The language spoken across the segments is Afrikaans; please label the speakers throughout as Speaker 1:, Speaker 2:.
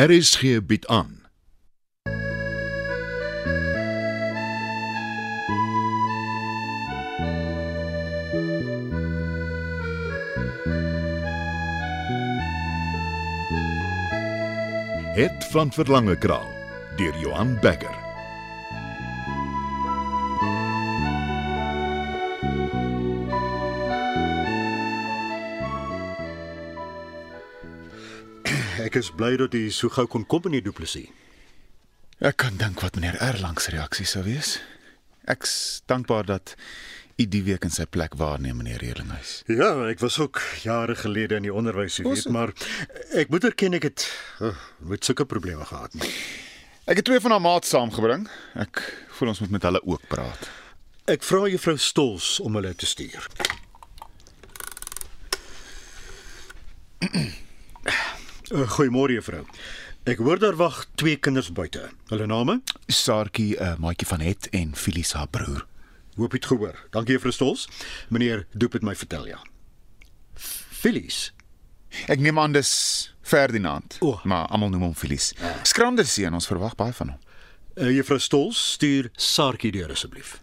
Speaker 1: RSG bied aan. Het van Verlange Kraal deur Johan Becker.
Speaker 2: Ek is bly dat jy so gou kon kom meneer Du Plessis.
Speaker 3: Ek kan dink wat meneer Erlang se reaksie sou wees. Ek's dankbaar dat u die week in sy plek waarneem meneer Erlinghuis.
Speaker 2: Ja, ek was ook jare gelede in die onderwys, jy weet,
Speaker 3: Ons-
Speaker 2: maar ek moet erken ek het uh, met sulke probleme gehad. nie.
Speaker 3: Ek het twee van haar maats saamgebring. Ek voel ons moet met hulle ook praat.
Speaker 2: Ek vra juffrou Stols om hulle te stuur. Uh, Goeiemôre juffrou. Ek hoor daar wag twee kinders buite. Hulle name?
Speaker 3: Saartjie, 'n maatjie van Het en Filie se haar broer.
Speaker 2: Hoop jy het gehoor. Dankie juffrou Stols. Meneer Doep het my vertel ja. Phyllis.
Speaker 3: Ek neem aan dis Ferdinand,
Speaker 2: O.
Speaker 3: maar almal noem hom Filies. Skramder seun, ons verwag baie van hom.
Speaker 2: Uh, Juffrou Stols, stuur Saartjie deur asseblief.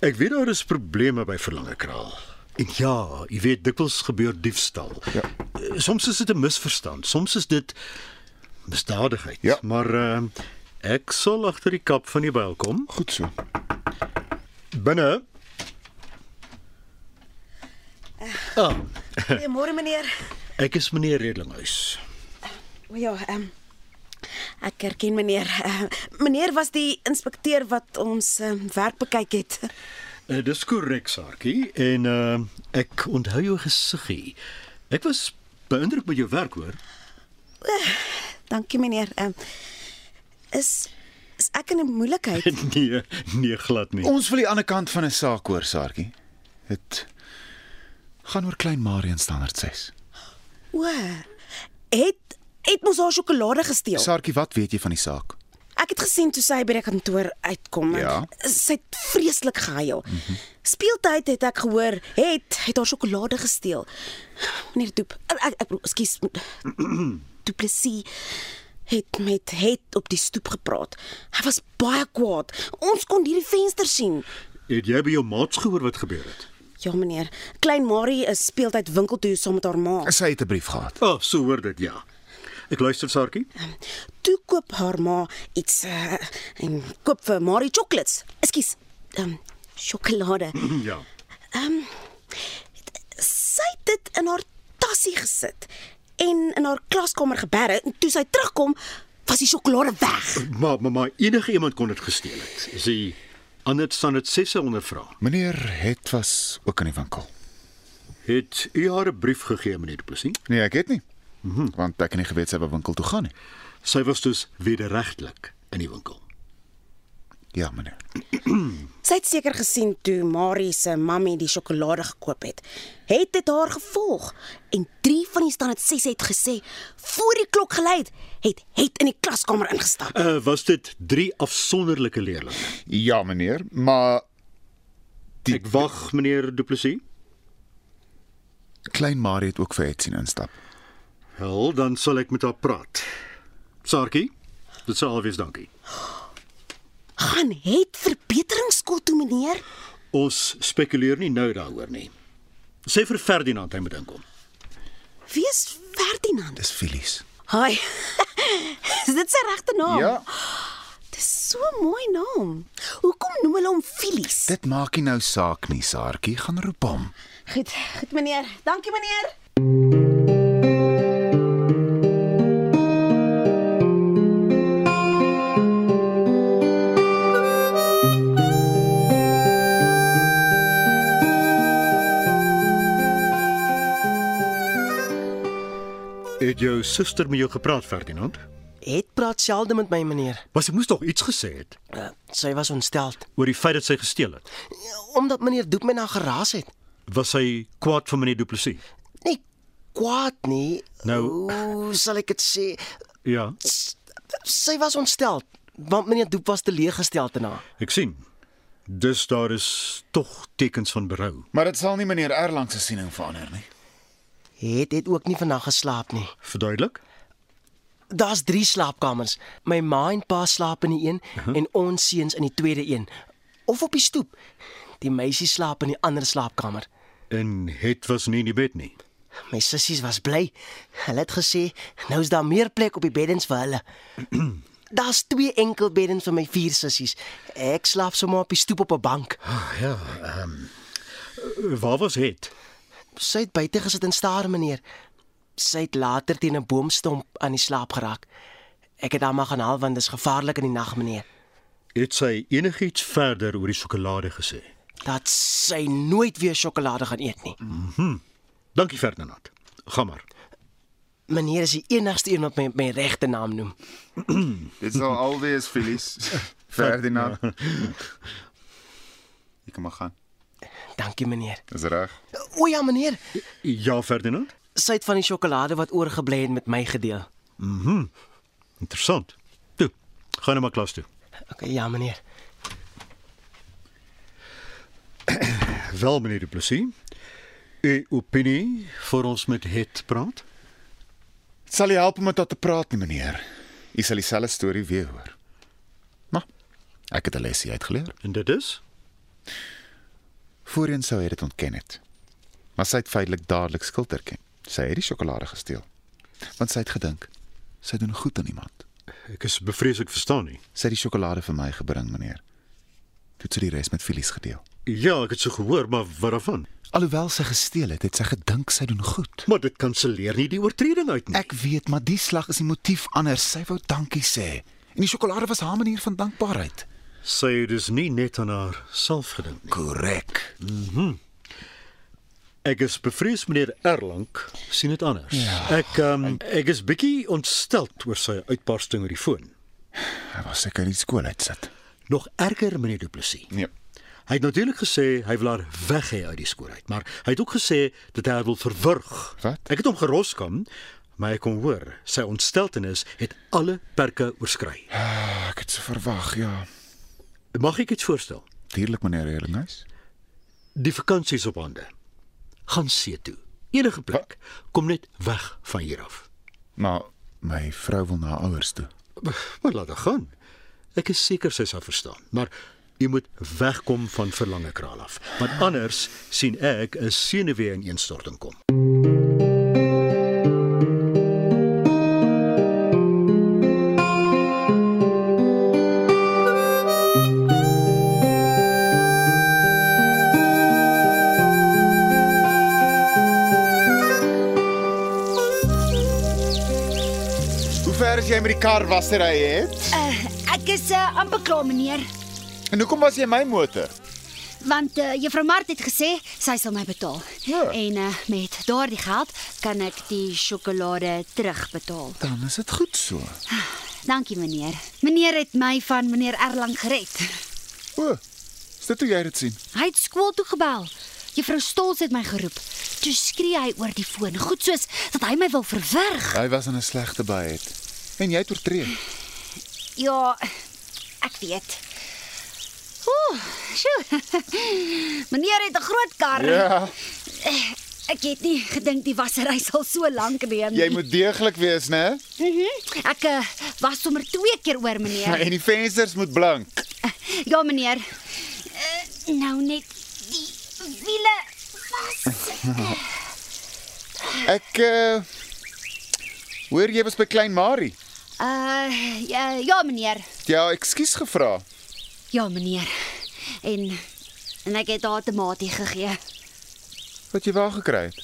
Speaker 2: Ek weet daar is probleme by Verlange Kraal. En ja, jy weet dikwels gebeur diefstal.
Speaker 3: Ja.
Speaker 2: Uh, Soms is dit 'n misverstand, soms is dit misdadigheid.
Speaker 3: Ja.
Speaker 2: Maar uh, ek sal agter die kap van die byl kom.
Speaker 3: Goed so.
Speaker 2: Binne. Ah,
Speaker 4: Goeiemôre meneer.
Speaker 2: ek is meneer Redlinghuis.
Speaker 4: O ja, ehm ek herken meneer. Uh, meneer was die inspekteur wat ons uh, werk bekyk het.
Speaker 2: Uh, dis korrek, Saartjie, en uh, ek onthou jou gesiggie. Ek was beïndruk met jou werk, hoor.
Speaker 4: Dankie meneer. Ehm is is ek in 'n moeilikheid?
Speaker 2: nee, nee glad nie.
Speaker 3: Ons wil die ander kant van 'n saak hoor, Saartjie. Dit gaan oor klein Marian standaard 6.
Speaker 4: O. Het het mos haar sjokolade gesteel.
Speaker 3: Saartjie, wat weet jy van die saak?
Speaker 4: Ek het gesien toe sy by die kantoor uitkom. en
Speaker 3: Ja.
Speaker 4: Sy het vreeslik gehuil. Mm -hmm. Speeltyd het ek gehoor, het het haar sjokolade gesteel. Meneer Doep, ek ek- ek ekskuus. Du Plessis het met het op die stoep gepraat. Hy was baie kwaad. Ons kon deur die venster sien.
Speaker 2: Het jy by jou maats gehoor wat gebeur het?
Speaker 4: Ja meneer, klein Marie is speeltyd winkel toe saam met haar ma.
Speaker 3: Sy het 'n brief gehad.
Speaker 2: Ah, oh, so hoor dit, ja. Ek luister, Saartjie.
Speaker 4: Toe koop haar ma iets uh, en koop vir Marie chocolates. Ekskuus. Ehm um, sjokolade.
Speaker 2: ja.
Speaker 4: Sy het dit in haar tassie gesit en in haar klaskamer geberre en toe sy terugkom was die sjokolade weg.
Speaker 2: Maar maar, maar enige iemand kon dit gesteel het. Is hy ander staan dit 6 ondervra.
Speaker 3: Meneer Het was ook in die winkel.
Speaker 2: Het u haar 'n brief gegee, meneer Du Plessis?
Speaker 3: Nee, ek het nie. Mm -hmm. Want ek het nie geweet sy by winkel toe gaan nie.
Speaker 2: Sy was dus wederregtelik in die winkel.
Speaker 3: Ja, meneer.
Speaker 4: Sy het seker gesien toe Marie se mammie die sjokolade gekoop het. Het dit haar gevolg en 3 van die standaard 6 het gesê voor die klok gelei het, het het in die klaskamer ingestap.
Speaker 2: Uh, was dit drie afsonderlike leerlinge?
Speaker 3: Ja, meneer, maar
Speaker 2: Ek wag, meneer Du Plessis.
Speaker 3: klein Marie het ook vir Het sien instap.
Speaker 2: Wel, dan sal ek met haar praat. Saartjie, dit sal alwees dankie.
Speaker 4: Gaan het verbeteringsskool toe meneer?
Speaker 2: Ons spekuleer nie nou daaroor nie. Sê vir Ferdinand hy moet inkom.
Speaker 4: Wie's Ferdinand?
Speaker 3: Dis Filies.
Speaker 4: Hi. Is dit sy regte naam?
Speaker 3: Ja,
Speaker 4: Dis so 'n mooi naam. Hoekom noem hulle hom Filies?
Speaker 3: dit maak nie nou saak nie, Saartjie, gaan roep hom.
Speaker 4: Goed, goed meneer. Dankie meneer.
Speaker 2: Het jou suster met jou gepraat, Ferdinand?
Speaker 5: Het praat selde met my meneer.
Speaker 2: Maar sy moes tog iets gesê het
Speaker 5: Uh, sy was ontstel
Speaker 2: oor die feit dat sy gesteel het.
Speaker 5: omdat meneer Doep my na geraas het.
Speaker 2: Was sy kwaad vir meneer Du Plessis?
Speaker 5: Nie kwaad nie.
Speaker 2: Nou-
Speaker 5: Hoe sal ek dit sê?
Speaker 2: Ja,
Speaker 5: S- Sy was ontstel want meneer Doep was teleeggestel daarna.
Speaker 2: ek sien. Dus daar is tog tekens van berou.
Speaker 3: Maar dit sal nie meneer Erlang se siening verander nie.
Speaker 5: het het ook nie vandag geslaap nie.
Speaker 2: Verduidelik?
Speaker 5: Daar's 3 slaapkamers. My ma en pa slaap in die een uh -huh. en ons seuns in die tweede een of op die stoep. Die meisie slaap in die ander slaapkamer.
Speaker 2: En het was nie in die bed nie.
Speaker 5: My sissies was bly. Hulle het gesê nou is daar meer plek op die beddens vir hulle. Daar's twee enkel beddens vir my vier sissies. Ek slaap sommer op die stoep op 'n bank.
Speaker 2: Ag ja, ehm um, waar was het?
Speaker 5: Sy het buite gesit en staar, meneer. Sy het later teen 'n boomstomp aan die slaap geraak. Ek het haar maar gaan haal want dit is gevaarlik in die nag, meneer.
Speaker 2: Het sy enigiets verder oor die sjokolade gesê?
Speaker 5: Dat sy nooit weer sjokolade gaan eet nie.
Speaker 2: Dankie Ferdinand. Gaan maar.
Speaker 5: Meneer is die enigste een wat my my regte naam noem.
Speaker 6: Dit sal al wees, Felix. Ferdinand. Ek kom maar gaan.
Speaker 5: Dankie, meneer.
Speaker 6: Dis reg.
Speaker 5: O ja, meneer.
Speaker 2: Ja Ferdinand.
Speaker 5: Sy het van die sjokolade wat oorgebly het met my gedeel.
Speaker 2: Interessant. Toe, gaan nou maar klas toe.
Speaker 5: Okay, ja, meneer.
Speaker 2: Wel meneer Du Plessis. U opinie vir ons met het praat?
Speaker 3: Dit sal nie help om met haar te praat nie, meneer. U sal dieselfde storie weer hoor. Maar ek het 'n lesie uitgeleer.
Speaker 2: En dit is
Speaker 3: Voorheen sou hy dit ontken het. Maar sy het feitelik dadelik skuld erken. Sy het die sjokolade gesteel. Want sy het gedink sy doen goed aan iemand.
Speaker 2: ek is bevrees ek verstaan nie.
Speaker 3: Sy het die sjokolade vir my gebring, meneer. Toe het sy die res met Felies gedeel.
Speaker 2: Ja, ek het so gehoor, maar wat daarvan?
Speaker 3: Alhoewel sy gesteel het, het sy gedink sy doen goed.
Speaker 2: Maar dit kanselleer nie die oortreding uit nie.
Speaker 3: Ek weet, maar die slag is die motief anders. Sy wou dankie sê. En die sjokolade was haar manier van dankbaarheid.
Speaker 2: Sy het dus nie net aan haarself gedink nie. Mhm.
Speaker 3: Korrek.
Speaker 2: Ek is bevrees meneer Erlang sien dit anders. Ja. Ek um, ek is bietjie ontsteld oor sy uitbarsting oor die foon.
Speaker 3: Hy was seker in die skool uitsit.
Speaker 2: Nog erger meneer Du Plessis.
Speaker 6: Nee.
Speaker 2: Hy het natuurlik gesê hy wil haar weg hê uit die skool uit, maar hy het ook gesê dat hy haar wil verwrig.
Speaker 3: Wat?
Speaker 2: Ek het hom geroskam, maar ek kon hoor sy ontsteltenis het alle perke oorskry.
Speaker 3: Ah, Ek het so verwag, ja.
Speaker 2: Mag ek iets voorstel?
Speaker 3: Dierlik meneer Erlinghuis.
Speaker 2: Die vakansie is op hande. Gaan see toe. Enige plek. Kom net weg van hier af.
Speaker 3: Maar my vrou wil na haar ouers toe.
Speaker 2: Maar laat dit gaan. Ek is seker sy sal verstaan, maar jy moet wegkom van verlange kraal af, want anders sien ek 'n senuwee in instorting kom.
Speaker 3: Hoe ver is jy met die kar wasery het?
Speaker 7: Uh, ek is uh, amper klaar meneer,
Speaker 3: En hoekom was jy my motor?
Speaker 7: want uh, juffrou Mart het gesê sy sal my betaal.
Speaker 3: Ja.
Speaker 7: En uh, met daardie geld kan ek die sjokolade terugbetaal.
Speaker 3: Dan is dit goed so.
Speaker 7: Dankie meneer. Meneer het my van meneer Erlang gered.
Speaker 3: O, is dit hoe jy dit sien?
Speaker 7: Hy het skool toe gebel. Juffrou Stols het my geroep. Toe skree hy oor die foon, goed soos dat hy my wil verwrig.
Speaker 3: Hy was in 'n slegte byheid. En jy het oortree.
Speaker 7: Ja, ek weet. Ooh, sjoe. meneer het 'n groot kar.
Speaker 3: Ja,
Speaker 7: Ek het nie gedink die wasery sal so lank neem nie.
Speaker 3: jy moet deeglik wees, né?
Speaker 7: Mm -hmm. Ek uh, was sommer twee keer oor, meneer.
Speaker 3: En die vensters moet blink.
Speaker 7: Ja, meneer. Uh, nou net die wiele vas.
Speaker 3: Ek uh hoor jy was by Klein Marie.
Speaker 7: Uh ja, ja, meneer.
Speaker 3: Ja, ekskuus gevra.
Speaker 7: Ja, meneer. En en ek het haar tomatie gegee.
Speaker 3: Wat jy waar gekry het.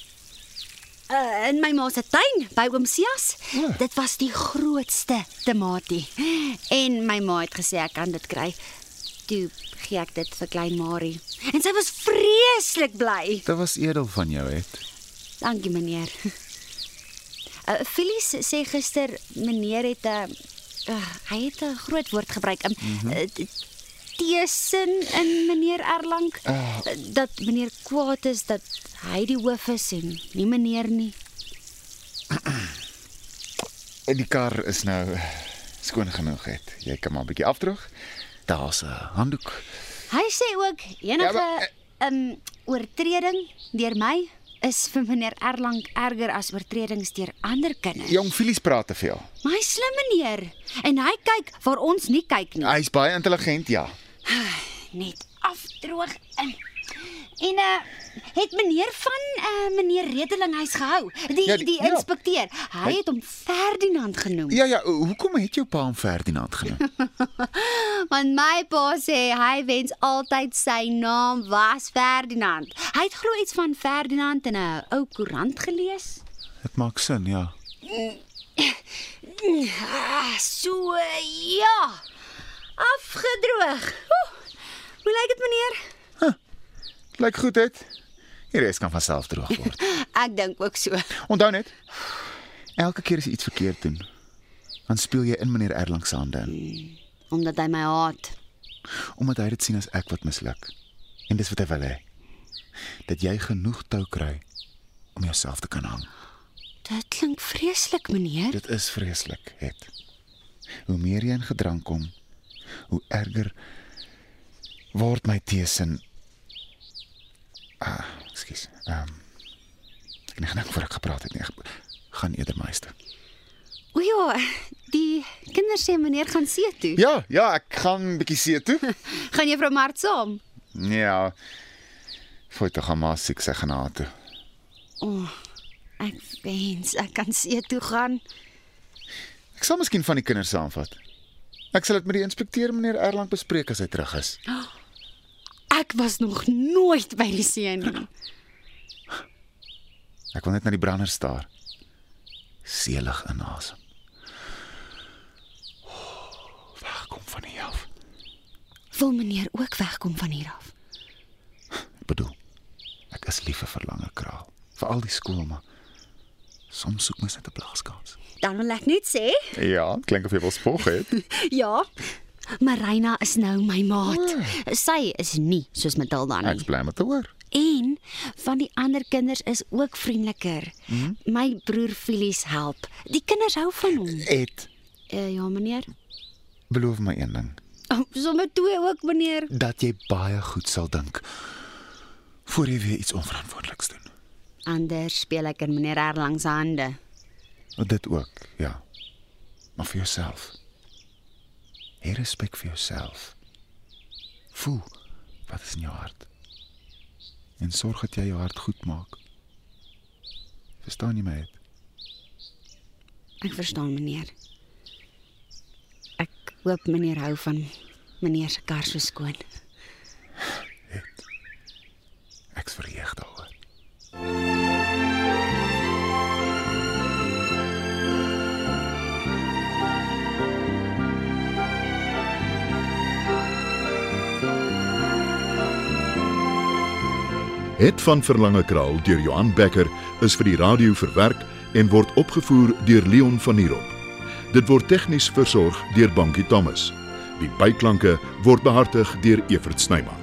Speaker 7: Uh, in my ma se tuin by oom Sias.
Speaker 3: Ja.
Speaker 7: Dit was die grootste tomatie. En my ma het gesê ek kan dit kry. Toe gee ek dit vir klein Marie. En sy was vreeslik bly.
Speaker 3: Dit was edel van jou, het.
Speaker 7: Dankie meneer. Uh Phyllis sê gister meneer het 'n uh, hy het 'n groot woord gebruik. Um,
Speaker 3: Mhm.
Speaker 7: mm -hmm. uh, Teesin in meneer Erlang
Speaker 3: Ah.
Speaker 7: uh, dat meneer kwaad is dat hy die hoof is en nie meneer nie.
Speaker 3: En die kar is nou eh, skoon genoeg, het. Jy kan maar 'n bietjie afdroog. Daar's 'n handdoek.
Speaker 7: Hy sê ook
Speaker 3: Ja,
Speaker 7: enige
Speaker 3: maar,
Speaker 7: ehm um, oortreding deur my is vir meneer Erlang erger as oortredings deur ander kinders.
Speaker 3: Jong Filies praat te veel.
Speaker 7: Maar hy is slim meneer en hy kyk waar ons nie kyk nie.
Speaker 3: Hy's baie intelligent, ja.
Speaker 7: Net afdroog in. En uh het meneer van uh meneer Redeling huis gehou. Die
Speaker 3: Ja,
Speaker 7: ja,
Speaker 3: die-
Speaker 7: die,
Speaker 3: ja.
Speaker 7: inspekteur. Hy het hom Ferdinand genoem.
Speaker 3: Ja ja, hoekom het jou pa hom Ferdinand genoem?
Speaker 7: Want my pa sê hy wens altyd sy naam was Ferdinand. Hy het glo iets van Ferdinand in 'n ou koerant gelees.
Speaker 3: Dit maak sin, ja.
Speaker 7: Ah, so ja. Afgedroog. Oeh, Hoe lyk dit meneer?
Speaker 3: Lyk goed uit. Die res kan van self droog word.
Speaker 7: Ek dink ook so.
Speaker 3: Onthou net, elke keer as jy iets verkeerd doen, dan speel jy in meneer Erlang se hande in,
Speaker 7: Omdat hy my haat.
Speaker 3: omdat hy dit sien as ek wat misluk. En dis wat hy wil hê. Dat jy genoeg tou kry om jouself te kan hang.
Speaker 7: Dit klink vreeslik, meneer.
Speaker 3: Dit is vreeslik, het. Hoe meer jy in gedrang kom, hoe erger word my teesin. Ah, skus. Ehm um, ek het nie gedink voor ek gepraat het nie. Ek gaan eerder meester.
Speaker 7: O ja, die kinders sê meneer gaan see toe. Ja.
Speaker 3: Ja, ja, ek gaan 'n bietjie see toe.
Speaker 7: Gaan juffrou Mart saam?
Speaker 3: ja. Voor toe gaan maar siek sy genade toe.
Speaker 7: Ek wens ek kan see toe gaan.
Speaker 3: Ek sal miskien van die kinders saamvat. Ek sal dit met die inspekteur meneer Erlang bespreek as hy terug is.
Speaker 7: Ek was nog nooit by die see nie.
Speaker 3: Ek wil net na die brander staar. Selig inasem. Waar kom van hier af?
Speaker 7: Wil meneer ook wegkom van hier af?
Speaker 3: Ek bedoel, ek is lief vir verlange kraal, vir al die skool maar soms soek mens net 'n blaaskans.
Speaker 7: Dan wil ek net sê,
Speaker 3: Ja, klink of jy wil spog het.
Speaker 7: ja, Ah. Marina is nou my maat. Sy is nie soos Matilda nie.
Speaker 3: Ek's bly om dit te hoor.
Speaker 7: En van die ander kinders is ook vriendeliker. Mm? My broer Filies help. Die kinders hou van hom.
Speaker 3: Et
Speaker 7: Uh, ja, meneer.
Speaker 3: beloof my een ding,
Speaker 7: Oh, sommer twee ook, meneer.
Speaker 3: dat jy baie goed sal dink voor jy weer iets onverantwoordeliks doen.
Speaker 7: Anders speel ek in meneer Erlang se hande.
Speaker 3: Dit ook, ja. Maar vir jouself. Hê respek vir jouself. Voel wat is in jou hart. En sorg dat jy jou hart goed maak. Verstaan jy my? Het?
Speaker 7: Ek verstaan, meneer. Ek hoop meneer hou van meneer se kar so skoon.
Speaker 3: Ek's verheug daaroor.
Speaker 1: Het van Verlange Kraal deur Johan Becker is vir die radio verwerk en word opgevoer deur Leon Van Heerop. Dit word tegnies versorg deur Bankie Thomas. Die byklanke word behartig deur Evert Snyman.